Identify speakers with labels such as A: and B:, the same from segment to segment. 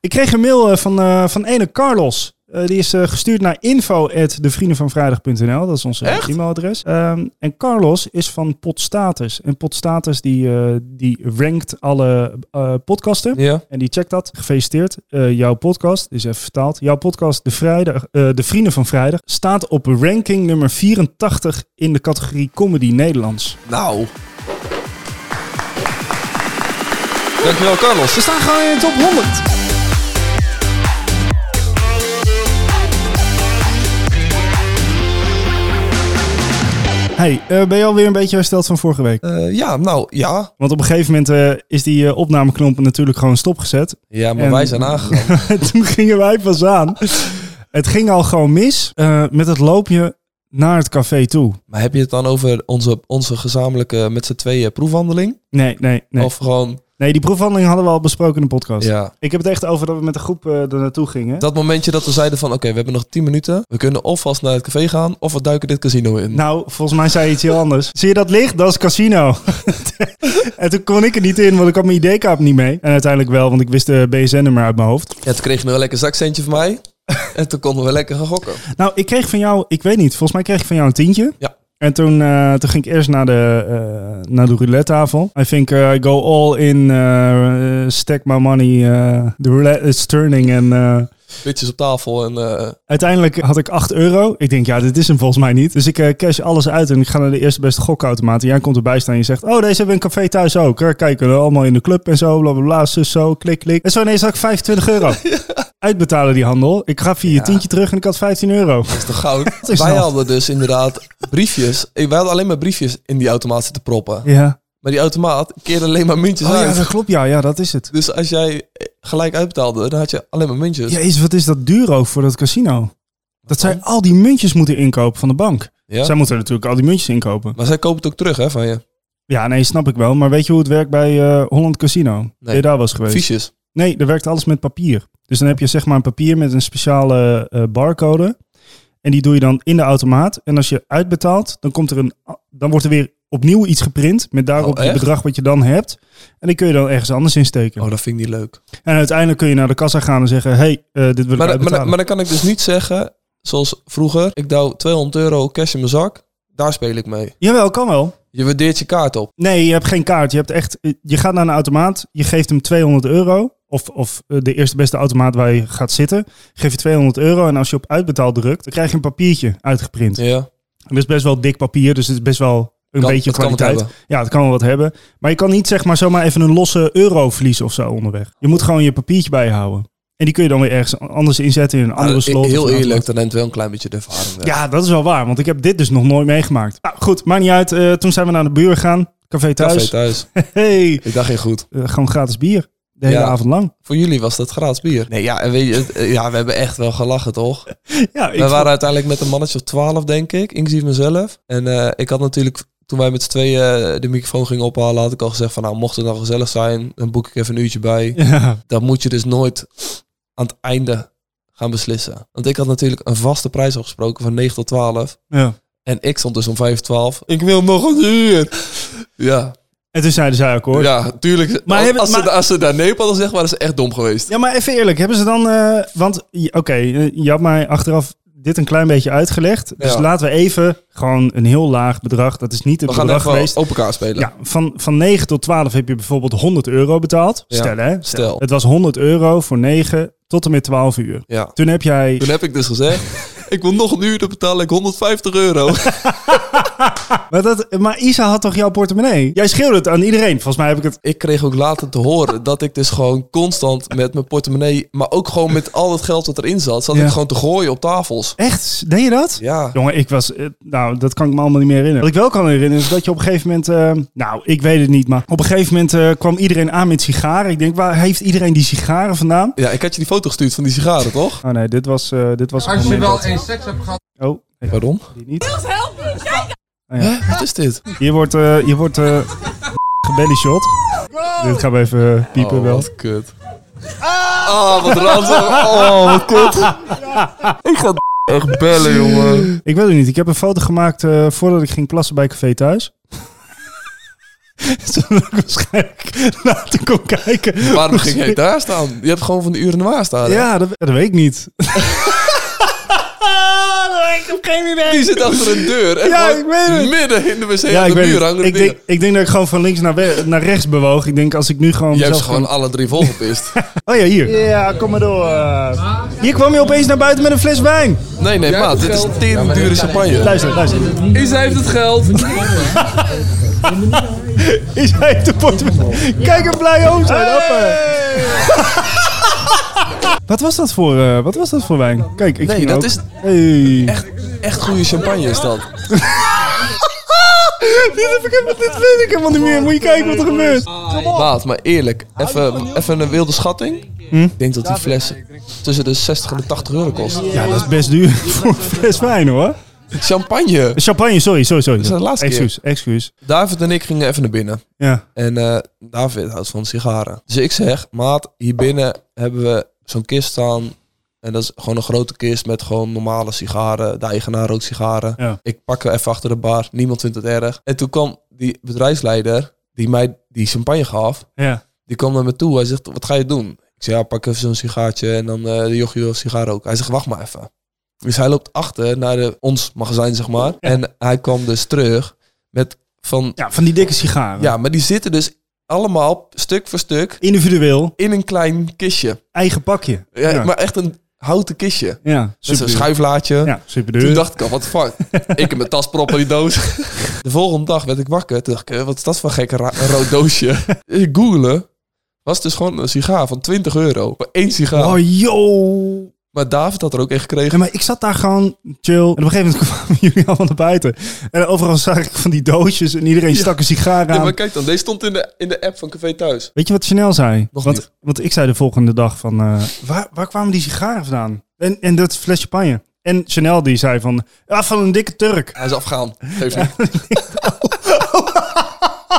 A: Ik kreeg een mail eh, van, eh, van ene Carlos. Eh, die is eh, gestuurd naar info.devriendenvanvrijdag.nl. Dat is ons eh,
B: Echt?
A: e-mailadres. Ehm, en Carlos is van Podstatus. En Podstatus die, eh, die rankt alle eh, podcasten.
B: Ja.
A: En die checkt dat. Gefeliciteerd. Eh, jouw podcast, is even vertaald. Jouw podcast, de, vrijdag, eh, de Vrienden van Vrijdag, staat op ranking nummer 84 in de categorie Comedy Nederlands.
B: Nou. Dankjewel, Carlos.
A: Ze staan gewoon in de top 100. Hey, eh, ben je alweer een beetje hersteld van vorige week?
B: Eh, ja, nou, ja.
A: Want op een gegeven moment eh, is die eh, opnameknop natuurlijk gewoon stopgezet.
B: Ja, maar
A: En-
B: wij zijn aangegaan.
A: Toen gingen wij pas aan. Het ging al gewoon mis eh, met het loopje naar het café toe.
B: maar heb je het dan over onze, onze gezamenlijke met z'n tweeën proefwandeling?
A: Nee, nee, nee.
B: Of gewoon,
A: Nee, die proefwandeling hadden we al besproken in de podcast.
B: ja.
A: Ik heb het echt over dat we met de groep eh, er naartoe gingen.
B: Dat momentje dat we zeiden van, oké, we hebben nog 10 minuten. We kunnen of vast naar het café gaan, of we duiken dit casino in.
A: Nou, volgens mij zei je iets heel anders. Zie je dat licht? Dat is casino. en toen kon ik er niet in, want ik had mijn ID-kaart niet mee. En uiteindelijk wel, want ik wist de BSN-nummer uit mijn hoofd.
B: Ja, toen kreeg je nog een lekker zakcentje van mij. en toen konden we lekker gaan gokken.
A: Nou, ik kreeg van jou, ik weet niet, volgens mij kreeg ik van jou een tientje.
B: Ja.
A: En toen, eh, toen ging ik eerst naar de, eh, naar de roulette tafel. I think eh, I go all in, eh, eh, stack my money, eh the roulette is turning. En eh,
B: Bitjes op tafel en eh,
A: uiteindelijk had ik 8 euro. Ik denk, ja, dit is hem volgens mij niet. Dus ik eh, cash alles uit en ik ga naar de eerste beste gokautomaat. En jij komt erbij staan en je zegt, oh, deze hebben we een café thuis ook. Hè. Kijk, we allemaal in de club en zo, bla bla bla, zus zo, klik klik. En zo ineens had ik 25 euro. Uitbetalen die handel. Ik gaf je je
B: Ja.
A: tientje terug en ik had 15 euro.
B: dat is toch goud.
A: is
B: wij
A: nou-
B: hadden dus inderdaad briefjes. Eh, Wij hadden alleen maar briefjes in die automaat zitten proppen.
A: Ja.
B: Maar die automaat keerde alleen maar muntjes
A: Oh ja,
B: uit.
A: dat klopt. Ja, ja, dat is het.
B: Dus als jij eh, gelijk uitbetaalde, dan had je alleen maar muntjes.
A: Jezus, wat is dat duur ook voor dat casino? Dat zij al die muntjes moeten inkopen van de bank.
B: Ja?
A: Zij moeten natuurlijk al die muntjes inkopen.
B: Maar zij kopen het ook terug hè, van je.
A: Ja, nee, snap ik wel. Maar weet je hoe het werkt bij eh, Holland Casino? Ben je daar was geweest?
B: Fiches.
A: Nee, er werkt alles met papier. Dus dan heb je zeg maar een papier met een speciale eh, barcode. En die doe je dan in de automaat. En als je uitbetaalt, dan, komt er een, dan wordt er weer opnieuw iets geprint. Met daarop
B: Oh,
A: het
B: echt?
A: bedrag wat je dan hebt. En die kun je dan ergens anders insteken.
B: Oh, dat vind ik niet leuk.
A: En uiteindelijk kun je naar de kassa gaan en zeggen... hey, eh, dit wil ik
B: Maar, dan- maar,
A: uitbetalen.
B: dan- maar dan kan ik dus niet zeggen, zoals vroeger, ik douw 200 euro cash in mijn zak. Daar speel ik mee.
A: Jawel, kan wel.
B: Je waardeert je kaart op.
A: Nee, je hebt geen kaart. Je, hebt echt, je gaat naar een automaat, je geeft hem 200 euro. Of, of eh, de eerste beste automaat waar je gaat zitten. Geef je 200 euro en als je op uitbetaal drukt, dan krijg je een papiertje uitgeprint.
B: Ja.
A: Dat is best wel dik papier, dus het is best wel een
B: Kan-
A: beetje
B: dat kan het
A: kwaliteit.
B: hebben.
A: ja, het kan wel wat hebben. Maar je kan niet zeg maar zomaar even een losse euro verliezen of zo onderweg. Je moet gewoon je papiertje bijhouden. En die kun je dan weer ergens anders inzetten in een andere
B: Ah,
A: slot. of
B: Heel
A: een
B: eerlijk, dat neemt wel een klein beetje de ervaring weg.
A: ja, dat is wel waar, want ik heb dit dus nog nooit meegemaakt. Nou, goed, maakt niet uit. Eh, toen zijn we naar de buur gegaan. Café thuis.
B: Café thuis.
A: Hey,
B: Ik dacht geen goed.
A: eh, gewoon gratis bier. De hele
B: Ja.
A: avond lang.
B: Voor jullie was dat gratis bier. Nee, ja, en weet je, het- eh, ja, we hebben echt wel gelachen, toch?
A: Ja, ik
B: we waren uiteindelijk met een mannetje of twaalf, denk ik, inclusief mezelf. En eh, ik had natuurlijk, toen wij met z'n tweeën eh, de microfoon gingen ophalen, had ik al gezegd van, nou, mocht het nou gezellig zijn, dan boek ik even een uurtje bij.
A: Ja,
B: Dat moet je dus nooit aan het einde gaan beslissen. Want ik had natuurlijk een vaste prijs afgesproken van 9 tot 12.
A: ja.
B: En ik stond dus om 5 tot 12. Ik wil nog een uur. Ja,
A: En toen zeiden zij ook hoor. Ja.
B: ja tuurlijk.
A: Maar
B: als,
A: hebben-
B: als ze,
A: maar-
B: als ze daar nee op hadden gezegd, waren ze echt dom geweest.
A: maar even eerlijk, hebben ze dan... eh, want, ja, oké, eh, je had mij achteraf dit een klein beetje uitgelegd. Dus
B: Ja.
A: laten we even gewoon een heel laag bedrag. Dat is niet het
B: We gaan
A: bedrag
B: even
A: geweest.
B: open elkaar spelen.
A: Ja, van, van 9 tot 12 heb je bijvoorbeeld 100 euro betaald.
B: Ja,
A: Stel hè.
B: stel.
A: Het was 100 euro voor 9 tot en met 12 uur.
B: Ja.
A: Toen heb jij...
B: Toen heb ik dus gezegd, ik wil nog een uur, dan betaal ik 150 euro.
A: Maar, dat, maar Isa had toch jouw portemonnee? Jij schreeuwde het aan iedereen. Volgens mij heb ik het...
B: Ik kreeg ook later te horen dat ik dus gewoon constant met mijn portemonnee, maar ook gewoon met al het geld dat erin zat, zat
A: Ja.
B: ik gewoon te gooien op tafels.
A: Echt? Deed je dat?
B: Ja,
A: Jongen, ik was... eh, Nou, dat kan ik me allemaal niet meer herinneren. Wat ik wel kan herinneren is dat je op een gegeven moment... eh, nou, ik weet het niet, maar... Op een gegeven moment eh, kwam iedereen aan met sigaren. Ik denk, waar heeft iedereen die sigaren vandaan?
B: ja ik had je die foto gestuurd van die sigaren, toch?
A: Oh nee, dit was... eh, dit was het
C: Als je
A: moment
C: wel
A: dat-
C: eens seks hebt gehad,
A: Oh, nee,
B: Waarom?
A: die niet.
B: Hè? Wat is dit?
A: Hier wordt... eh hier wordt eh gebellyshot. Dit gaan we even eh, piepen
B: Oh,
A: wel.
B: wat kut. Ah, wat ranzig. Oh, wat kut. Ik ga echt bellen, jongen.
A: Ik weet het niet. Ik heb een foto gemaakt eh, voordat ik ging plassen bij Café Thuis. Zullen we ook waarschijnlijk later komen kijken.
B: Waarom ging jij daar staan? Je hebt gewoon van de uren noir staan. hè?
A: Ja, dat, dat weet ik niet. ik heb geen idee.
B: Die zit achter een deur. En
A: Ja,
B: gewoon
A: ik weet het.
B: Midden in de wc
A: Ja,
B: aan
A: ik
B: de
A: weet
B: muur
A: het.
B: hangen de
A: ik,
B: dingen.
A: denk, ik denk dat ik gewoon van links naar, we- naar rechts bewoog. Ik denk als ik nu gewoon...
B: Jij hebt
A: mezelf
B: ze gewoon alle drie volgepist.
A: kan- Oh ja, hier. Ja, kom maar door. Hier kwam je opeens naar buiten met een fles wijn.
B: Nee, nee, maat. Dit is tering dure champagne.
A: Luister, luister.
B: Is hij heeft het geld.
A: Is hij heeft de portemonnee. Kijk hem blij oom zijn. Hoppa. Wat was dat voor, eh, wat was dat voor wijn? Kijk, ik
B: Nee,
A: zie
B: dat
A: ook.
B: is-
A: Hey.
B: Echt, echt goede champagne is dat.
A: Dit, heb ik helemaal, dit weet ik helemaal niet meer. Moet je kijken wat er gebeurt.
B: Maat, maar eerlijk. Even even een wilde schatting. Ik denk dat die fles tussen de 60 en de 80 euro kost.
A: Ja, dat is best duur voor een fles wijn hoor.
B: Champagne.
A: Champagne, sorry, sorry, sorry.
B: Dat is de laatste keer.
A: excuus, excuus.
B: David en ik gingen even naar binnen.
A: Ja.
B: En eh, David houdt van sigaren. Dus ik zeg, maat, hier binnen hebben we zo'n kist staan. En dat is gewoon een grote kist met gewoon normale sigaren. De eigenaar rookt sigaren.
A: Ja.
B: Ik pak er even achter de bar. Niemand vindt het erg. En toen kwam die bedrijfsleider, die mij die champagne gaf,
A: Ja.
B: die kwam naar me toe. Hij zegt, wat ga je doen? Ik zeg, ja, pak even zo'n sigaartje en dan eh, de jochie wil een sigaar ook. Hij zegt, wacht maar even. Dus hij loopt achter naar de, ons magazijn, zeg maar. En hij kwam dus terug met van
A: ja, van die dikke sigaren.
B: ja, maar die zitten dus allemaal stuk voor stuk
A: Individueel,
B: in een klein kistje.
A: eigen pakje.
B: Ja,
A: ja.
B: Maar echt een houten kistje.
A: ja
B: Met zo'n
A: superduur.
B: schuiflaadje.
A: Ja, superduur.
B: Toen dacht ik al, wat fuck. ik heb mijn tas proppen die doos. De volgende dag werd ik wakker. Toen dacht ik, eh, wat is dat voor een gekke ra- een rood doosje? ik googelen. Was dus gewoon een sigaar van 20 euro. Voor één sigaar.
A: Oh, joh.
B: Maar David had er ook één gekregen.
A: Ja, maar ik zat daar gewoon chill. En op een gegeven moment kwamen jullie allemaal naar buiten. En overal zag ik van die doosjes en iedereen stak een sigaar aan.
B: Ja, maar kijk dan, deze stond in de, in de app van Café Thuis.
A: Weet je wat Chanel zei?
B: Nog
A: want,
B: niet.
A: want ik zei de volgende dag van, eh, waar, waar kwamen die sigaren vandaan? En, en dat fles champagne. En Chanel die zei van, ah, van een dikke Turk.
B: Hij is afgegaan. Geef niet.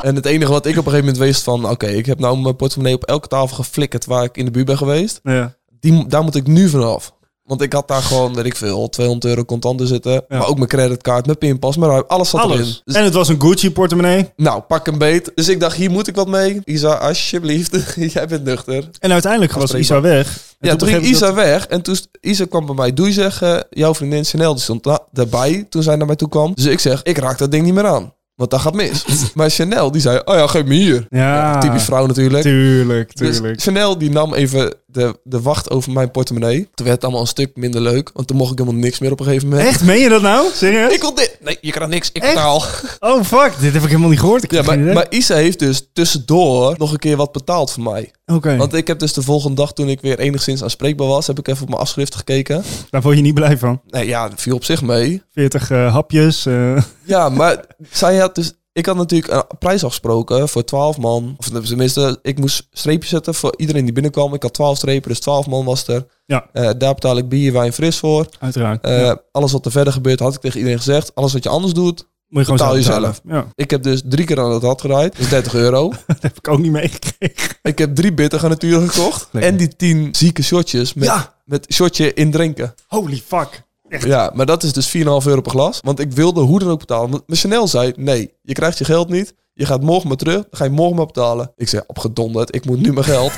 B: En het enige wat ik op een gegeven moment wist van... Oké, ik heb nou mijn portemonnee op elke tafel geflikkerd waar ik in de buurt ben geweest.
A: Ja.
B: Die, daar moet ik nu vanaf. Want ik had daar gewoon, weet ik veel, 200 euro contanten zitten. Maar ook mijn creditcard, mijn pinpas, mijn ruim, alles zat erin.
A: Alles.
B: Dus,
A: En het was een Gucci portemonnee.
B: nou, pak een beet. Dus ik dacht, hier moet ik wat mee. Isa, alsjeblieft. Jij bent nuchter.
A: En uiteindelijk was Isa
B: Afspreekbaar.
A: weg. En
B: ja, toen ging
A: begreep ik
B: Isa weg. En toen st- Isa kwam bij mij doei zeggen. Jouw vriendin Chanel die stond na- daarbij toen zij naar mij toe kwam. Dus ik zeg, ik raak dat ding niet meer aan. Want dat gaat mis. maar Chanel die zei, oh ja, geef me hier.
A: dat- Ja,
B: Typisch vrouw natuurlijk.
A: Tuurlijk,
B: Dus
A: tuurlijk.
B: Chanel die nam even de, de wacht over mijn portemonnee. Toen werd het allemaal een stuk minder leuk. Want toen mocht ik helemaal niks meer op een gegeven moment.
A: Echt, meen je dat nou? Serieus?
B: Ik wil dit. Nee, je krijgt niks. Ik
A: Echt?
B: betaal.
A: Oh fuck, dit heb ik helemaal niet gehoord. Ik
B: Ja,
A: heb
B: maar,
A: geen idee.
B: maar Isa heeft dus tussendoor nog een keer wat betaald voor mij.
A: Oké,
B: Want ik heb dus de volgende dag toen ik weer enigszins aanspreekbaar was... heb ik even op mijn afschrift gekeken.
A: daar word je niet blij van.
B: Nee, ja, dat viel op zich mee.
A: 40 eh, hapjes. eh.
B: Ja, maar zij had dus... Ik had natuurlijk een prijs afgesproken voor 12 man. Of tenminste, ik moest streepjes zetten voor iedereen die binnenkwam. Ik had 12 strepen, dus 12 man was er.
A: Ja.
B: Eh, daar betaal ik bier, wijn, fris voor.
A: Uiteraard.
B: Eh,
A: Ja.
B: Alles wat er verder gebeurt, had ik tegen iedereen gezegd. Alles wat je anders doet.
A: Moet je gewoon
B: betaal
A: betalen. Ja,
B: Ik heb dus drie keer aan het rad geraaid. Dat is 30 euro.
A: dat heb ik ook niet meegekregen.
B: ik heb drie bittergarnituren gekocht.
A: Lekker.
B: En die 10 zieke shotjes met,
A: Ja.
B: met shotje in drinken.
A: Holy fuck. Echt.
B: Ja, maar dat is dus 4,5 euro per glas. Want ik wilde hoe dan ook betalen. Want Mijn Chanel zei, nee, je krijgt je geld niet. Je gaat morgen maar terug. Dan ga je morgen maar betalen. Ik zei, opgedonderd, ik moet nu mijn geld.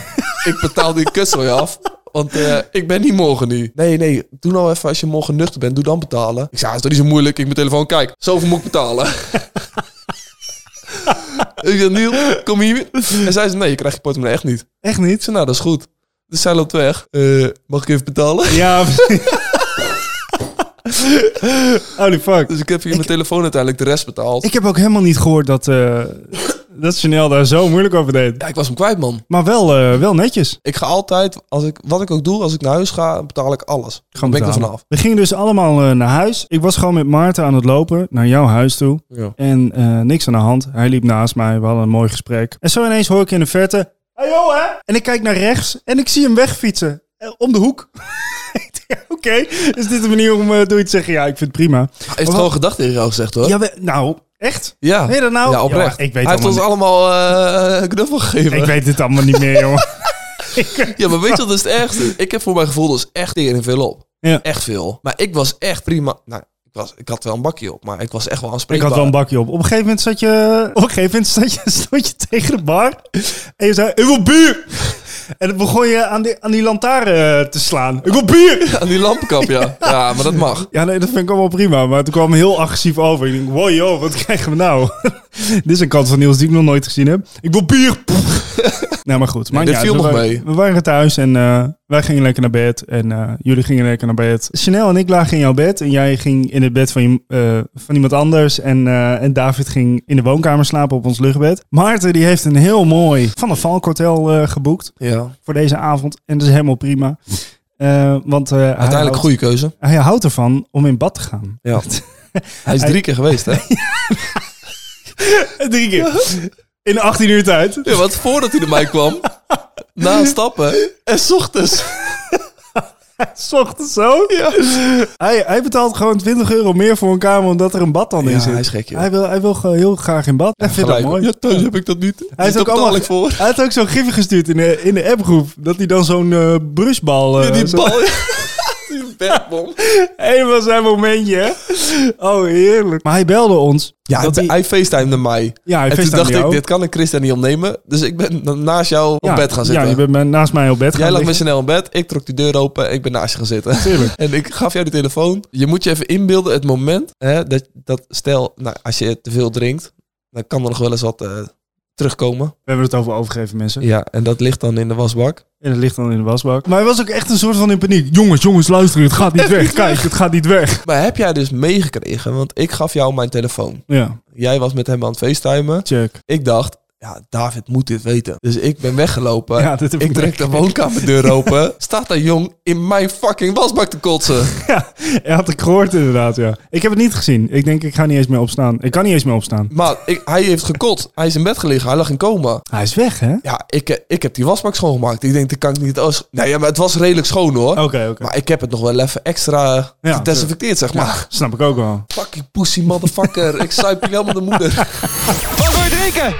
B: ik betaal die kutzooi af. Want eh, ik ben niet morgen nu. Nee, nee, doe nou even als je morgen nuchter bent. Doe dan betalen. Ik zei, ah, is toch niet zo moeilijk. Ik mijn telefoon, kijk, zoveel moet ik betalen. ik zei, Niel, kom hier. En zij zei, nee, je krijgt je portemonnee echt niet.
A: Echt
B: Ik
A: niet?
B: zei, nou, dat is goed. Dus zij loopt weg. Eh, mag ik even betalen?
A: Ja. Holy fuck.
B: Dus ik heb hier mijn telefoon uiteindelijk de rest betaald.
A: Ik heb ook helemaal niet gehoord dat, eh, dat Chanel daar zo moeilijk over deed.
B: Ja, ik was hem kwijt, man.
A: Maar wel, eh, wel netjes.
B: Ik ga altijd, als ik, wat ik ook doe, als ik naar huis ga, betaal ik alles. Dan
A: Gaan
B: ben ik er
A: betalen.
B: vanaf.
A: We gingen dus allemaal eh, naar huis. Ik was gewoon met Maarten aan het lopen naar jouw huis toe.
B: Ja.
A: En eh, niks aan de hand. Hij liep naast mij. We hadden een mooi gesprek. En zo ineens hoor ik in de verte... Hey, joh, hè? En ik kijk naar rechts en ik zie hem wegfietsen. Eh, om de hoek. Ik denk, Oké, is dit een manier om eh, door je te zeggen? Ja, ik vind het prima.
B: Hij heeft gewoon gedacht tegen jou gezegd, hoor.
A: Ja, we- nou, echt?
B: Ja.
A: Meen je dat nou?
B: Ja, oprecht.
A: Ja, ik weet
B: Hij heeft ons allemaal eh, een knuffel gegeven.
A: Ik weet dit allemaal niet meer, jongen.
B: Ja, maar weet je wat is het ergste? Ik heb voor mijn gevoel dus echt tegen veel op.
A: Ja.
B: Echt veel. Maar ik was echt prima. Nou, Ik, was, ik had wel een bakje op, maar ik was echt wel
A: Ik
B: aanspreekbaar.
A: had wel een bakje op. Op een gegeven moment zat je, op een gegeven moment zat je, stond je tegen de bar en je zei, ik wil bier. En dan begon je aan die, aan die lantaarn eh, te slaan. Ik wil bier.
B: Aan die lampenkap, ja. Ja, maar dat mag.
A: Ja, nee, dat vind ik allemaal prima. Maar toen kwam heel agressief over. Ik denk, wow, joh, wat krijgen we nou? Dit is een kant van Niels die ik nog nooit gezien heb. Ik wil bier. nou, maar goed. Maar
B: dit viel
A: we,
B: nog
A: waren,
B: mee.
A: we waren thuis en eh, wij gingen lekker naar bed. En eh, jullie gingen lekker naar bed. Chanel en ik lagen in jouw bed. En jij ging in het bed van, je, eh, van iemand anders. En, eh, en David ging in de woonkamer slapen op ons luchtbed. Maarten die heeft een heel mooi Van de Valk Hotel eh, geboekt
B: Ja.
A: voor deze avond. En dat is helemaal prima. Eh, want eh, hij
B: Uiteindelijk
A: houdt-
B: goede keuze.
A: hij houdt ervan om in bad te gaan.
B: Ja. Hij is drie keer geweest, hè?
A: Drie keer. In 18 uur tijd.
B: Ja, want voordat hij naar mij kwam, na een stappen en 's ochtends.
A: S ochtends zo. Hij, hij betaalt gewoon 20 euro meer voor een kamer omdat er een bad dan in
B: Ja,
A: zit.
B: hij is gek, joh.
A: Hij wil, hij wil gewoon heel graag in bad. hij vindt dat
B: Gelijk.
A: mooi.
B: Ja, thuis heb ik dat niet.
A: Hij is
B: Daar
A: ook
B: betaal
A: allemaal-
B: ik voor.
A: Hij had ook zo'n gif gestuurd in de, in de appgroep. Dat hij dan zo'n eh brusbal... eh,
B: Ja, die
A: zo-
B: bal. Die bedbom.
A: Helemaal zijn momentje, hè? Oh, heerlijk. Maar hij belde ons. Ja,
B: Dat,
A: die-
B: Hij facetimede mij.
A: ja hij
B: en toen
A: feest aan
B: dacht ik,
A: jou.
B: dit kan een Christian niet ontnemen. Dus ik ben na- naast jou op
A: Ja,
B: bed gaan zitten.
A: Ja, je bent me- naast mij op bed
B: Jij
A: gaan
B: lag met
A: liggen.
B: Chanel in bed, ik trok die deur open en ik ben naast je gaan zitten.
A: Tuurlijk.
B: En ik gaf jou de telefoon. Je moet je even inbeelden het moment hè, dat, dat stel, nou, als je te veel drinkt, dan kan er nog wel eens wat eh, terugkomen.
A: We hebben het over overgeven, mensen.
B: Ja, en dat ligt dan in de wasbak.
A: En het ligt dan in de wasbak. Maar hij was ook echt een soort van in paniek. Jongens, jongens, luister, het gaat niet weg. Kijk, het gaat niet weg.
B: Maar heb jij dus meegekregen, want ik gaf jou mijn telefoon.
A: Ja,
B: Jij was met hem aan het facetimen.
A: check.
B: Ik dacht, ja, David moet dit weten. Dus ik ben weggelopen.
A: Ja, dit heb
B: ik trek de woonkamerdeur open. Staat daar jong in mijn fucking wasbak te kotsen.
A: Ja, hij had ik gehoord inderdaad, ja. Ik heb het niet gezien. Ik denk, ik ga niet eens meer opstaan. Ik kan niet eens meer opstaan.
B: Maar ik- hij heeft gekotst. Hij is in bed gelegen. Hij lag in coma.
A: Hij is weg, hè? Oké,
B: Ja, ik, ik heb die wasbak schoongemaakt. Ik denk, dat kan ik niet... als- Nee, ja, maar het was redelijk schoon hoor.
A: Oh, oké.
B: Maar ik heb het nog wel even extra
A: Ja,
B: gedesinfecteerd, zeg maar.
A: Snap ik ook wel.
B: Fucking pussy motherfucker. ik suip je helemaal de moeder.
C: Wat wil je drinken?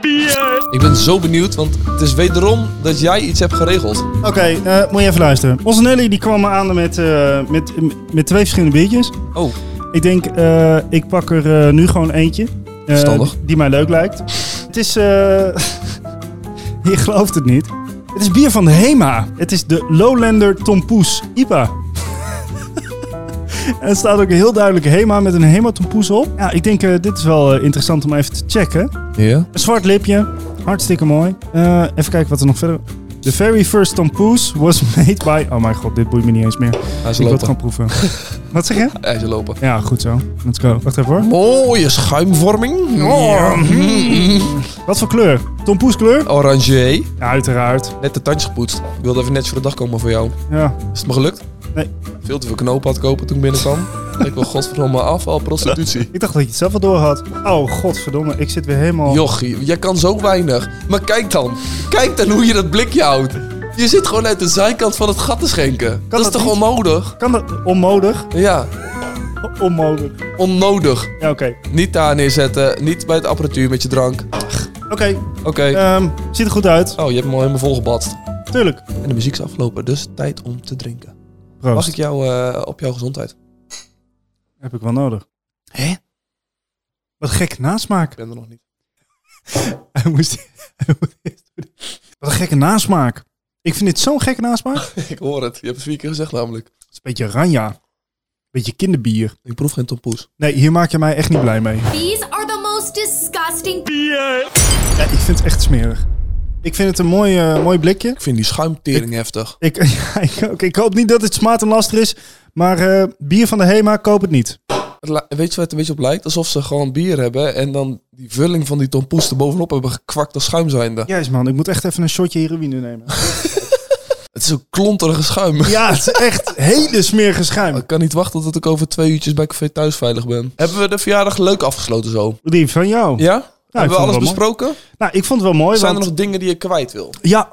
B: Ik ben zo benieuwd, want het is wederom dat jij iets hebt geregeld.
A: Oké, eh, moet je even luisteren. Onze Nelly die kwam me aan met, eh, met, met twee verschillende biertjes.
B: Oh,
A: Ik denk, eh, ik pak er eh, nu gewoon eentje. eh,
B: Verstandig.
A: die mij leuk lijkt. Het is. eh, je gelooft het niet. Het is bier van de Hema. Het is de Lowlander Tompoes IPA. en er staat ook een heel duidelijke Hema met een Hema Tompoes op. Ja, ik denk, eh, dit is wel eh, interessant om even te checken.
B: ja?
A: Een zwart lipje. Hartstikke mooi. Eh, even kijken wat er nog verder... The very first tompoes was made by... Oh mijn god, dit boeit me niet eens meer.
B: Hij is
A: Ik wil het
B: lopen.
A: gewoon proeven. wat zeg je?
B: Hij is lopen.
A: Ja, goed zo. Let's go. Wacht even hoor.
B: Mooie Oh, schuimvorming. Oh.
A: Ja. Wat voor kleur? Tompoes kleur?
B: Oranje.
A: Ja, uiteraard.
B: Net de tandjes gepoetst. Ik wilde even netjes voor de dag komen voor jou.
A: Ja.
B: Is het me gelukt?
A: Nee.
B: Veel te veel knopen had kopen toen ik binnenkwam. ik wil godverdomme afval, prostitutie.
A: Ik dacht dat je het zelf al door had. Oh, godverdomme. Ik zit weer helemaal...
B: Jochie, jij kan zo weinig. Maar kijk dan. Kijk dan hoe je dat blikje houdt. Je zit gewoon uit de zijkant van het gat te schenken. dat is
A: dat
B: toch
A: niet?
B: onnodig?
A: Kan dat... Onmodig?
B: Ja,
A: Onmodig.
B: onnodig.
A: Ja, oké.
B: Niet daar neerzetten, niet bij het apparatuur met je drank.
A: Oké.
B: Oké.
A: ehm, ziet er goed uit.
B: Oh, je hebt me al helemaal volgebatst.
A: Tuurlijk.
B: En de muziek is afgelopen, dus tijd om te drinken.
A: Proost.
B: Mag ik jou eh, op jouw gezondheid?
A: Heb ik wel nodig.
B: Hè?
A: Wat gek nasmaak.
B: Ik ben er nog niet.
A: Hij moest... hij moest eerst doen. Wat een gekke nasmaak. Ik vind dit zo'n gekke nasmaak. Het
B: ik hoor het. Je hebt het vier keer gezegd namelijk.
A: is een beetje ranja. Beetje kinderbier.
B: Ik proef geen tompoes.
A: Nee, hier maak je mij echt niet blij mee.
D: These are the most disgusting
A: Ja, ik vind het echt smerig. Ik vind het een mooi, eh, mooi blikje.
B: Ik vind die schuimtering heftig.
A: Ik, ja, ik, ook. ik hoop niet dat het smaad en laster is. Maar eh, bier van de Hema, koop het niet.
B: Het li- Weet je waar het een beetje op lijkt? Alsof ze gewoon bier hebben en dan die vulling van die tompoes er bovenop hebben gekwakt als schuim zijnde.
A: Juist man, ik moet echt even een shotje heroïne nemen.
B: Het is een klonterige schuim.
A: Ja, het is echt hele smerige schuim.
B: Ik kan niet wachten tot ik over twee uurtjes bij Café Thuis veilig ben. Hebben we de verjaardag leuk afgesloten zo?
A: Die van jou.
B: Ja?
A: ik
B: hebben we
A: vond het
B: alles
A: wel mooi.
B: besproken?
A: Nou, ik vond het wel mooi.
B: Zijn er
A: want-
B: nog dingen die je kwijt wil?
A: Ja.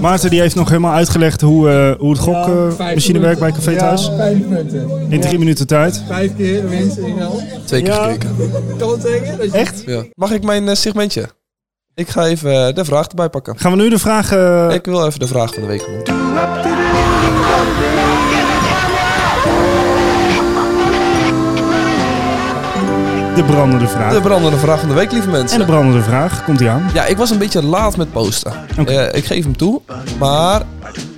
A: Maarten die heeft nog helemaal uitgelegd hoe, eh, hoe het gokmachine werkt bij Café Thuis.
E: Vijf punten.
A: In drie minuten tijd.
E: Vijf keer winst in al.
B: Twee keer
A: Ja.
B: gekeken.
E: Kan het zeggen? Dat je
A: Echt?
B: Ja. Mag ik mijn eh, segmentje? Ik ga even eh, de vraag erbij pakken.
A: Gaan we nu de vraag... eh,
B: Ik wil even de vraag van de week doen.
A: de brandende vraag.
B: De brandende vraag van de week, lieve
A: En de
B: mensen.
A: brandende vraag, komt die aan?
B: Ja, ik was een beetje laat met posten.
A: Oké.
B: Eh, ik geef hem toe. Maar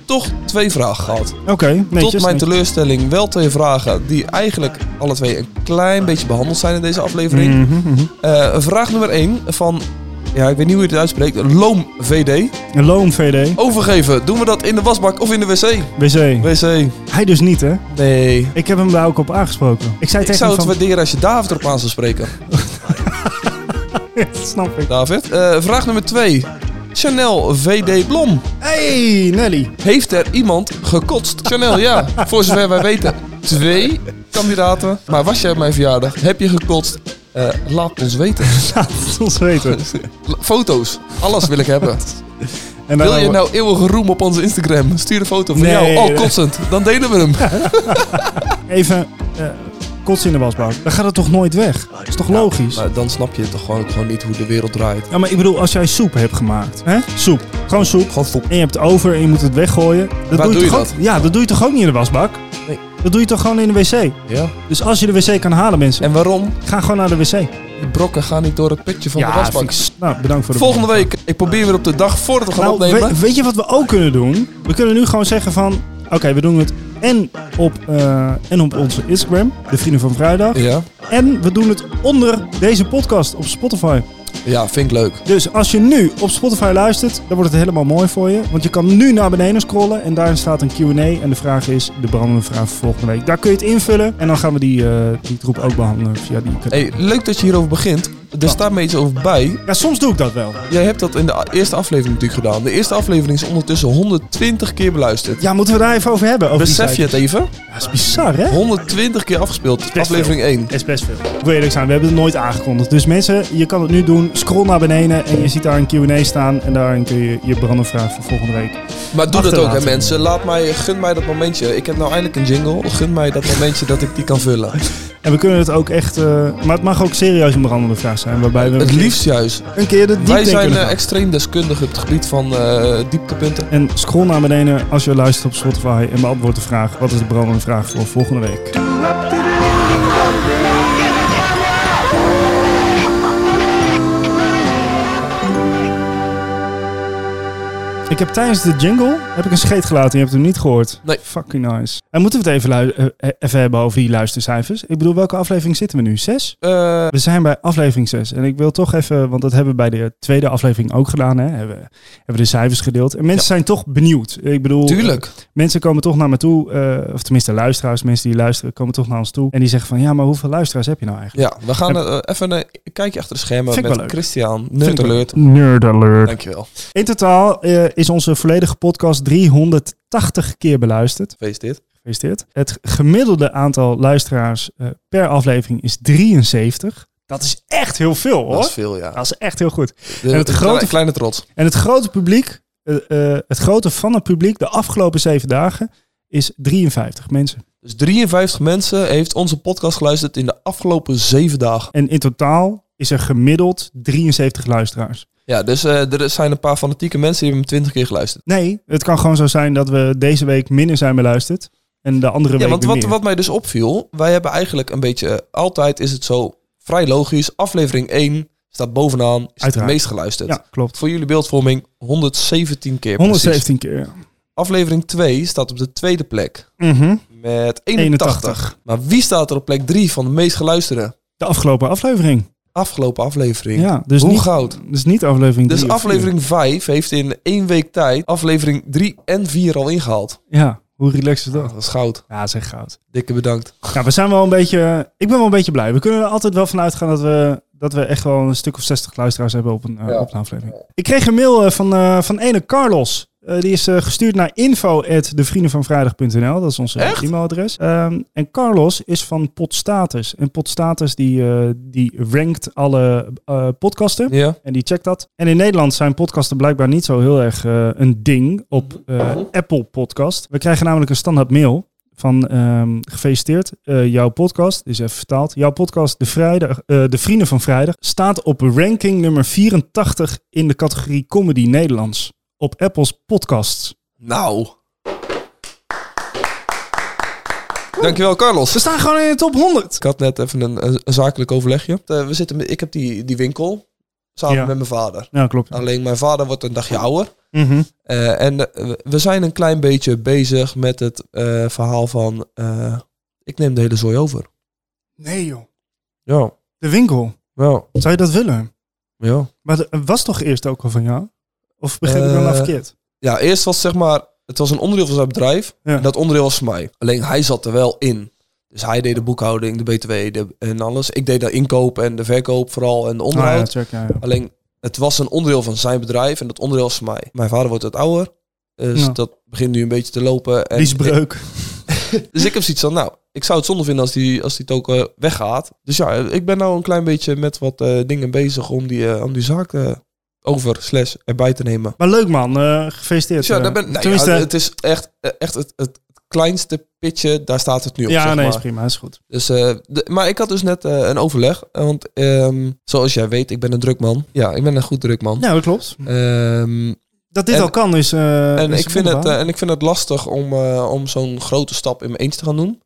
B: toch twee vragen gehad.
A: Oké, netjes.
B: Tot mijn
A: netjes.
B: teleurstelling wel twee vragen die eigenlijk alle twee een klein beetje behandeld zijn in deze aflevering.
A: Mhm, mhm.
B: Eh, vraag nummer 1 van, ja, ik weet niet hoe je het uitspreekt, Loom VD.
A: Een Loom VD,
B: Overgeven, doen we dat in de wasbak of in de wc?
A: wc.
B: Wc.
A: Hij dus niet, hè?
B: Nee.
A: Ik heb hem daar ook op aangesproken. Ik zei
B: Ik
A: tegen
B: zou
A: hem van...
B: het waarderen als je David erop aan zou spreken.
A: Dat snap ik.
B: David. Eh, vraag nummer 2. Chanel VD Blom.
A: Hey, Nelly.
B: Heeft er iemand gekotst? Chanel, ja. Voor zover wij weten. Twee kandidaten. Maar was jij op mijn verjaardag? Heb je gekotst? Eh, laat ons weten.
A: Laat het ons weten.
B: La- Foto's. Alles wil ik hebben.
A: En
B: Wil je
A: daarna-
B: nou eeuwig roem op onze Instagram? Stuur een foto van
A: Nee.
B: jou. Oh, kotsend. Dan delen we hem. nou-
A: Even eh kotsen in de wasbak. Dan gaat het toch nooit weg? Dat is toch logisch?
B: Maar dan snap je toch gewoon, gewoon niet hoe de wereld draait.
A: Ja, maar ik bedoel, als jij soep hebt gemaakt. Hè? Soep. Gewoon soep.
B: Gewoon foep.
A: En je hebt het over en je moet het weggooien. Dat
B: Waar doe je
A: toch
B: dat?
A: Ook, ja, dat doe je toch ook niet in de wasbak?
B: Nee.
A: Dat doe je toch gewoon in de wc?
B: Ja.
A: Dus als je de wc kan halen, mensen,
B: En waarom?
A: ga gewoon naar de wc.
B: Die brokken gaan niet door het putje van de
A: ja,
B: wasbak.
A: vind ik s- Nou, bedankt voor de
B: Volgende week. Ik probeer weer op de dag voordat we gaan
A: Nou,
B: opnemen.
A: we- weet je wat we ook kunnen doen? We kunnen nu gewoon zeggen van... Oké, we doen het en op, eh, en op onze Instagram, de Vrienden van Vrijdag.
B: Ja.
A: En we doen het onder deze podcast op Spotify.
B: ja, vind ik leuk.
A: Dus als je nu op Spotify luistert, dan wordt het helemaal mooi voor je. Want je kan nu naar beneden scrollen en daarin staat een Q&A. En de vraag is, de brandende vraag voor volgende week. Daar kun je het invullen en dan gaan we die, eh, die troep ook behandelen via die...
B: Hey, leuk dat je hierover begint. Er staat me iets over bij.
A: Ja, soms doe ik dat wel.
B: Jij hebt dat in de a- eerste aflevering natuurlijk gedaan. De eerste aflevering is ondertussen 120 keer beluisterd.
A: Ja, moeten we daar even over hebben? Over die
B: Besef
A: site?
B: je het even?
A: Ja, dat is bizar, hè?
B: 120 keer afgespeeld.
A: best
B: Aflevering 1.
A: Dat is best veel. Ik wil eerlijk zijn, we hebben het nooit aangekondigd. Dus mensen, je kan het nu doen. Scroll naar beneden en je ziet daar een Q&A staan. En daarin kun je je brandendvraag voor volgende week.
B: Maar doe dat ook, hè
A: Achterlaten.
B: mensen. Laat mij, gun mij dat momentje. Ik heb nou eindelijk een jingle. Gun mij dat momentje dat ik die kan vullen.
A: En we kunnen het ook echt... eh, maar het mag ook serieus een brandende vraag zijn. Waarbij we
B: Het liefst juist.
A: een keer de diepte
B: Wij
A: in
B: zijn
A: kunnen
B: eh,
A: gaan.
B: extreem deskundig op het gebied van eh, dieptepunten.
A: En scroll naar beneden als je luistert op Spotify. En beantwoord de vraag, wat is de brandende vraag voor volgende week? Ik heb tijdens de jingle heb ik een scheet gelaten en je hebt hem niet gehoord.
B: Nee.
A: Fucking nice. En moeten we het even, lui- eh, eh, even hebben over die luistercijfers? Ik bedoel, welke aflevering zitten we nu? Zes?
B: Eh,
A: We zijn bij aflevering 6. En ik wil toch even, want dat hebben we bij de tweede aflevering ook gedaan. Hè? Hebben, hebben we de cijfers gedeeld. En mensen zijn toch benieuwd. Ik bedoel,
B: tuurlijk.
A: eh, mensen komen toch naar me toe. eh, of tenminste, luisteraars, mensen die luisteren, komen toch naar ons toe. En die zeggen van ja, maar hoeveel luisteraars heb je nou eigenlijk?
B: Ja, we gaan eh, even een kijkje achter de schermen
A: Vind ik
B: met
A: wel leuk.
B: Christian.
A: Vind
B: Nerd
A: ik wel-
B: alert.
A: Nerd alert.
B: Dankjewel.
A: In totaal eh, is onze volledige podcast 380 keer beluisterd.
B: Gefeliciteerd.
A: Gefeliciteerd. Het gemiddelde aantal luisteraars eh, per aflevering is 73. Dat is echt heel veel hoor.
B: Dat is veel, ja.
A: dat is echt heel goed.
B: De-
A: En het
B: de
A: grote-
B: kleine, kleine trots.
A: En het grote publiek, eh, eh, het grote van het publiek de afgelopen zeven dagen is 53 mensen.
B: Dus 53 mensen heeft onze podcast geluisterd in de afgelopen zeven dagen.
A: En in totaal is er gemiddeld 73 luisteraars.
B: Ja, dus eh, er zijn een paar fanatieke mensen die hebben hem 20 keer geluisterd.
A: Nee, het kan gewoon zo zijn dat we deze week minder zijn beluisterd en de andere
B: Ja,
A: week
B: want
A: weer
B: wat,
A: meer.
B: wat mij dus opviel, wij hebben eigenlijk een beetje, eh, altijd is het zo vrij logisch, aflevering 1 staat bovenaan, is
A: Uiteraard.
B: het meest geluisterd.
A: Ja, klopt.
B: Voor jullie beeldvorming 117 keer. precies.
A: 117 keer. ja.
B: Aflevering 2 staat op de tweede plek
A: Mhm.
B: met 81. Maar wie staat er op plek 3 van de meest geluisterde?
A: De afgelopen aflevering.
B: Afgelopen aflevering.
A: Ja, dus
B: Hoe
A: niet,
B: goud.
A: dus niet aflevering
B: Dus
A: drie of vier.
B: aflevering 5 heeft in één week tijd aflevering 3 en 4 al ingehaald.
A: Ja, hoe relaxed is
B: Dat
A: dat?
B: is goud.
A: Ja, zeg goud.
B: Dikke bedankt.
A: Ja, we zijn wel een beetje. Ik ben wel een beetje blij. We kunnen er altijd wel van uitgaan dat we, dat we echt wel een stuk of 60 luisteraars hebben op een, eh,
B: Ja.
A: op een aflevering. Ik kreeg een mail eh, van, eh, van ene Carlos. Eh, die is eh, gestuurd naar info.devriendenvanvrijdag.nl. Dat is onze
B: Echt?
A: e-mailadres. Ehm, en Carlos is van Podstatus. En Podstatus die, eh, die rankt alle eh, podcasten.
B: Ja.
A: En die checkt dat. En in Nederland zijn podcasten blijkbaar niet zo heel erg eh, een ding op
B: Mhm.
A: eh, Apple Podcast. We krijgen namelijk een standaard mail van ehm, gefeliciteerd. eh, jouw podcast, dus even vertaald. Jouw podcast, de, vrijdag, eh, de Vrienden van Vrijdag, staat op ranking nummer 84 in de categorie Comedy Nederlands. Op Apple's podcasts.
B: Nou. Dankjewel, Carlos.
A: We staan gewoon in de top 100.
B: Ik had net even een, een, een zakelijk overlegje. Eh, we zitten met, ik heb die, die winkel samen
A: Ja.
B: met mijn vader.
A: Ja, klopt.
B: Alleen mijn vader wordt een dagje ouder.
A: Mhm.
B: Eh, en eh, we zijn een klein beetje bezig met het eh, verhaal van... eh, ik neem de hele zooi over.
A: Nee joh,
B: Ja,
A: de winkel.
B: ja,
A: Zou je dat willen?
B: ja.
A: Maar dat was toch eerst ook al van jou? Of begrijp ik dan
B: Eh,
A: nou verkeerd?
B: Ja, eerst was zeg maar... Het was een onderdeel van zijn bedrijf.
A: Ja.
B: En dat onderdeel was voor mij. Alleen hij zat er wel in. Dus hij deed de boekhouding, de btw de, en alles. Ik deed de inkoop en de verkoop vooral en de
A: Ah,
B: onderhoud.
A: ja, check, ja, ja.
B: Alleen, het was een onderdeel van zijn bedrijf en dat onderdeel is mij. Mijn vader wordt wat ouder, dus
A: Ja.
B: dat begint nu een beetje te lopen. En
A: Liesbreuk.
B: dus ik heb zoiets van, nou, ik zou het zonde vinden als die, als die token weggaat. Dus ja, ik ben nou een klein beetje met wat eh, dingen bezig om die, eh, om die zaak eh, over slash erbij te nemen.
A: Maar leuk man, eh, gefeliciteerd.
B: Dus ja,
A: eh.
B: daar ben, nou ja,
A: Tenminste,
B: het is echt, eh, echt het, het kleinste pitje, daar staat het nu op.
A: ja,
B: zeg
A: nee,
B: maar.
A: is prima, is goed.
B: Dus, eh, de- maar ik had dus net eh, een overleg, eh, want ehm, zoals jij weet, ik ben een druk man. Ja, ik ben een goed druk man.
A: Ja, dat klopt.
B: Ehm,
A: Dat dit
B: Hm. En-
A: al kan is. eh,
B: En
A: is
B: ik, vind het,
A: wonderbaar.
B: eh, en ik vind het lastig om, eh, om zo'n grote stap in mijn eens te gaan doen.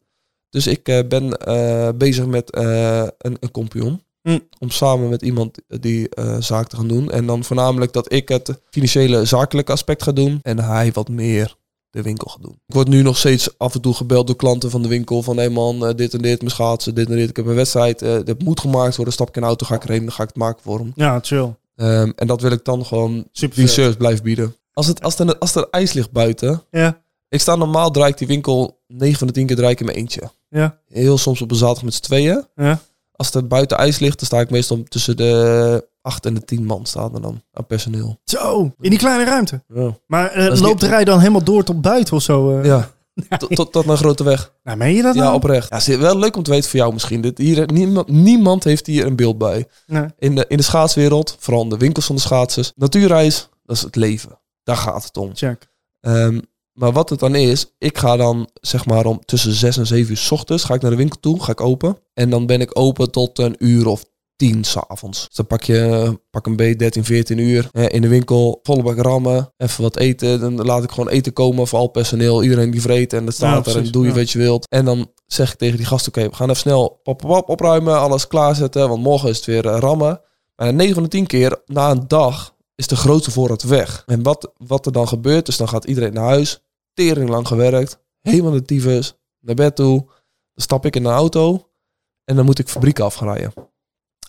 B: Dus ik eh, ben eh, bezig met eh, een, een compagnon.
A: Hm.
B: Om samen met iemand die eh, zaak te gaan doen. En dan voornamelijk dat ik het financiële zakelijke aspect ga doen. En hij wat meer de winkel gaat doen. Ik word nu nog steeds af en toe gebeld door klanten van de winkel. Van hé hey man, eh, dit en dit, mijn schaatsen, dit en dit. Ik heb een wedstrijd, eh dat moet gemaakt worden. Stap ik in de auto, ga ik erheen, dan ga ik het maken voor hem.
A: Ja, chill.
B: Ehm, en dat wil ik dan gewoon
A: Super.
B: die
A: vet.
B: service blijft bieden. Als, het, als, er, als er ijs ligt buiten.
A: Ja.
B: Ik sta normaal, draai ik die winkel 9 van de 10 keer draai ik in mijn eentje.
A: Ja.
B: Heel soms op een zaterdag met z'n tweeën.
A: Ja.
B: Als er buiten ijs ligt, dan sta ik meestal tussen de 8 en de 10 man staan er dan aan personeel.
A: Zo, in die kleine ruimte.
B: Ja.
A: Maar eh,
B: Dat is
A: loopt de
B: niet-
A: rij dan helemaal door tot buiten of zo? eh?
B: ja. Tot, tot, tot mijn grote weg.
A: Nou, meen je dat
B: Ja,
A: nou?
B: oprecht. Ja, zie- wel leuk om te weten voor jou misschien. Dit, hier, niemand, niemand heeft hier een beeld bij.
A: Nee.
B: In de, in de schaatswereld, vooral in de winkels van de schaatsers. Natuurreis, dat is het leven. Daar gaat het om.
A: Check.
B: Ehm, maar wat het dan is, ik ga dan zeg maar om tussen 6 en 7 uur 's ochtends ga ik naar de winkel toe, ga ik open. En dan ben ik open tot een uur of 10 s'avonds. Dus dan pak je eh, pak een B 13, 14 uur eh, in de winkel, volle bak rammen, even wat eten. Dan laat ik gewoon eten komen voor al het personeel, iedereen die vreet en dat staat er en
A: precies,
B: doe je
A: ja.
B: wat je wilt. En dan zeg ik tegen die gasten, oké, we gaan even snel pop, pop, pop, opruimen, alles klaarzetten, want morgen is het weer eh, rammen. Maar 9 van de 10 keer na een dag is de grote voorraad weg. En wat, wat er dan gebeurt, dus dan gaat iedereen naar huis, tering lang gewerkt, helemaal de tyfus, naar bed toe. Dan stap ik in de auto en dan moet ik fabrieken afrijden.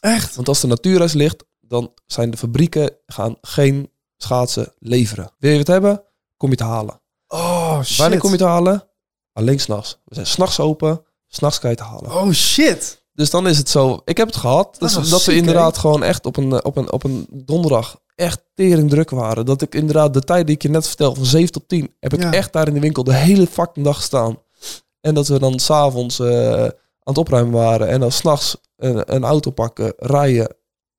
A: Echt?
B: Want als de natuurhuis ligt, dan zijn de fabrieken gaan geen schaatsen leveren. Wil je het hebben? Kom je te halen.
A: Oh, shit.
B: Wanneer kom je te halen? Alleen s'nachts. We zijn s'nachts open, s'nachts kan je het halen.
A: Oh, shit.
B: Dus dan is het zo. Ik heb het gehad. Dus
A: was
B: dat
A: Ah, ziek,
B: we
A: hè?
B: inderdaad gewoon echt op een, eh, op, een, op een donderdag echt tering druk waren. Dat ik inderdaad de tijd die ik je net vertel, van 7 tot 10, heb ik
A: Ja.
B: echt daar in de winkel de hele fucking dag staan. En dat we dan s'avonds eh aan het opruimen waren. En dan s'nachts eh, een, een auto pakken, rijden.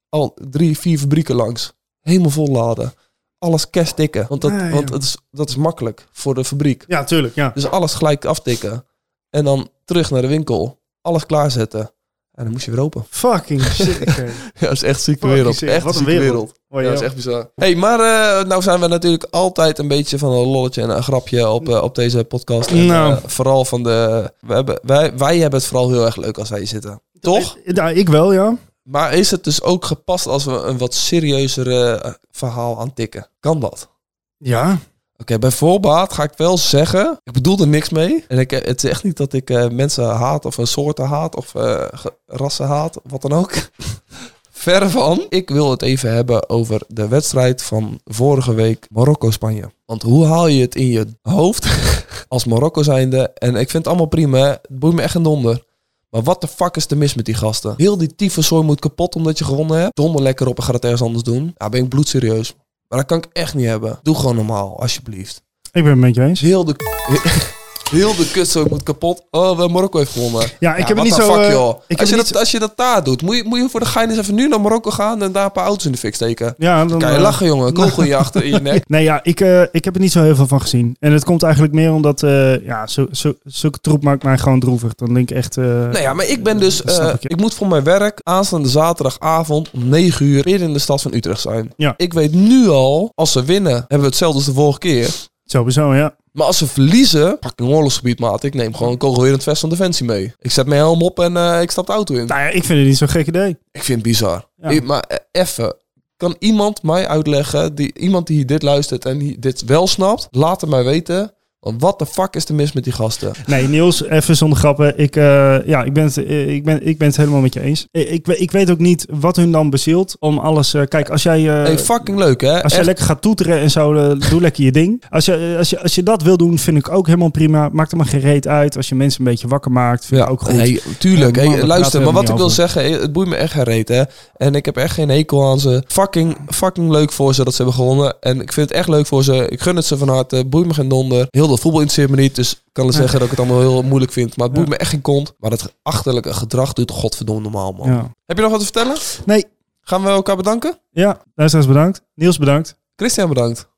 B: Al drie, vier fabrieken langs. Helemaal vol laden. Alles cash tikken. Want dat,
A: Ah, ja.
B: want het is, dat is makkelijk voor de fabriek.
A: Ja, tuurlijk, ja.
B: Dus alles gelijk aftikken. En dan terug naar de winkel. Alles klaarzetten. En dan moest je weer open.
A: Fucking shit. oké.
B: Ja, dat is echt zieke
A: Fucking
B: wereld.
A: sick.
B: Echt
A: Wat een
B: zieke
A: wereld.
B: wereld.
A: Oh,
B: Ja, dat is echt bizar. hey, maar eh, nou zijn we natuurlijk altijd een beetje van een lolletje en een grapje op, eh, op deze podcast. En,
A: Nou.
B: eh, vooral van de... We hebben, wij, wij hebben het vooral heel erg leuk als wij hier zitten. Toch?
A: Eh, Nou, ik wel, ja.
B: Maar is het dus ook gepast als we een wat serieuzere eh, verhaal aantikken? Kan dat?
A: Ja.
B: Oké, bij voorbaat ga ik wel zeggen, ik bedoel er niks mee. En ik, het is echt niet dat ik eh, mensen haat of een soorten haat of eh, ge- rassen haat, wat dan ook. Ver van. Ik wil het even hebben over de wedstrijd van vorige week Marokko-Spanje. Want hoe haal je het in je hoofd als Marokko zijnde? En ik vind het allemaal prima, hè. het boeit me echt een donder. Maar wat de fuck is er mis met die gasten? Heel die tyfuszooi moet kapot omdat je gewonnen hebt. Donder lekker op en ga het ergens anders doen. Ja, ben ik bloedserieus. Maar dat kan ik echt niet hebben. Doe gewoon normaal, alsjeblieft.
A: Ik ben het met je eens.
B: Heel de... Heel de kutzooi moet kapot. Oh, wel Marokko heeft gewonnen.
A: Ja, ik heb het
B: wat
A: niet
B: de
A: zo,
B: Fuck,
A: eh,
B: joh.
A: ik heb
B: als,
A: het
B: je
A: niet
B: dat, als je dat daar doet, moet je, moet je voor de gein eens even nu naar Marokko gaan en daar een paar auto's in de fik steken.
A: Ja, dan,
B: Kan je
A: eh,
B: lachen, jongen. Een Kogel in je achter in je nek.
A: Nee, ja, ik, eh, ik heb er niet zo heel veel van gezien. En het komt eigenlijk meer omdat, eh, ja, zo, zo, zulke troep maakt mij gewoon droevig. Dan denk ik echt... eh,
B: Nou ja, maar ik ben dus...
A: Dat snap
B: eh,
A: ik, ja.
B: ik moet voor mijn werk aanstaande zaterdagavond om 9 uur weer in de stad van Utrecht zijn.
A: Ja.
B: Ik weet nu al, als ze winnen, hebben we hetzelfde als de vorige keer.
A: Sowieso, ja.
B: Maar als ze verliezen, pak een oorlogsgebied, maat. Ik neem gewoon een kogelwerend vest van Defensie mee. Ik zet mijn helm op en eh, ik stap de auto in.
A: Nou ja, ik vind het niet zo'n gek idee.
B: Ik vind het bizar.
A: Ja.
B: Ik- maar eh, even, kan iemand mij uitleggen, die, iemand die dit luistert en die dit wel snapt, laat het mij weten. Want wat de fuck is er mis met die gasten?
A: Nee, Niels, even zonder grappen. Ik, eh, ja, ik, ben het, eh, ik, ben, ik ben het helemaal met je eens. Eh, Ik, ik, we- ik weet ook niet wat hun dan bezielt om alles... eh, kijk, als jij... eh,
B: hey, fucking leuk hè?
A: als jij
B: Echt.
A: lekker gaat toeteren en zo, eh, doe lekker je ding. Als je, eh, als, je, als je dat wil doen, vind ik ook helemaal prima. Maakt er maar geen reet uit. Als je mensen een beetje wakker maakt, vind ik ook goed.
B: Nee, tuurlijk.
A: Ja,
B: Hey,
A: man, daar praten
B: luister,
A: we
B: maar wat ik
A: niet
B: wil
A: over.
B: zeggen, hey, het boeit me echt geen reet, hè. En ik heb echt geen hekel aan ze. Fucking, fucking leuk voor ze dat ze hebben gewonnen. En ik vind het echt leuk voor ze. Ik gun het ze van harte. Boeit me geen donder. Heel dat voetbal interesseert me niet, dus ik kan wel zeggen dat ik het allemaal heel moeilijk vind. Maar het boeit
A: Ja.
B: me echt geen kont. Maar dat achterlijke gedrag doet godverdomme normaal, man.
A: Ja.
B: Heb je nog wat te vertellen?
A: Nee.
B: Gaan we elkaar bedanken?
A: Ja, luisteraars bedankt. Niels bedankt.
B: Christian, bedankt.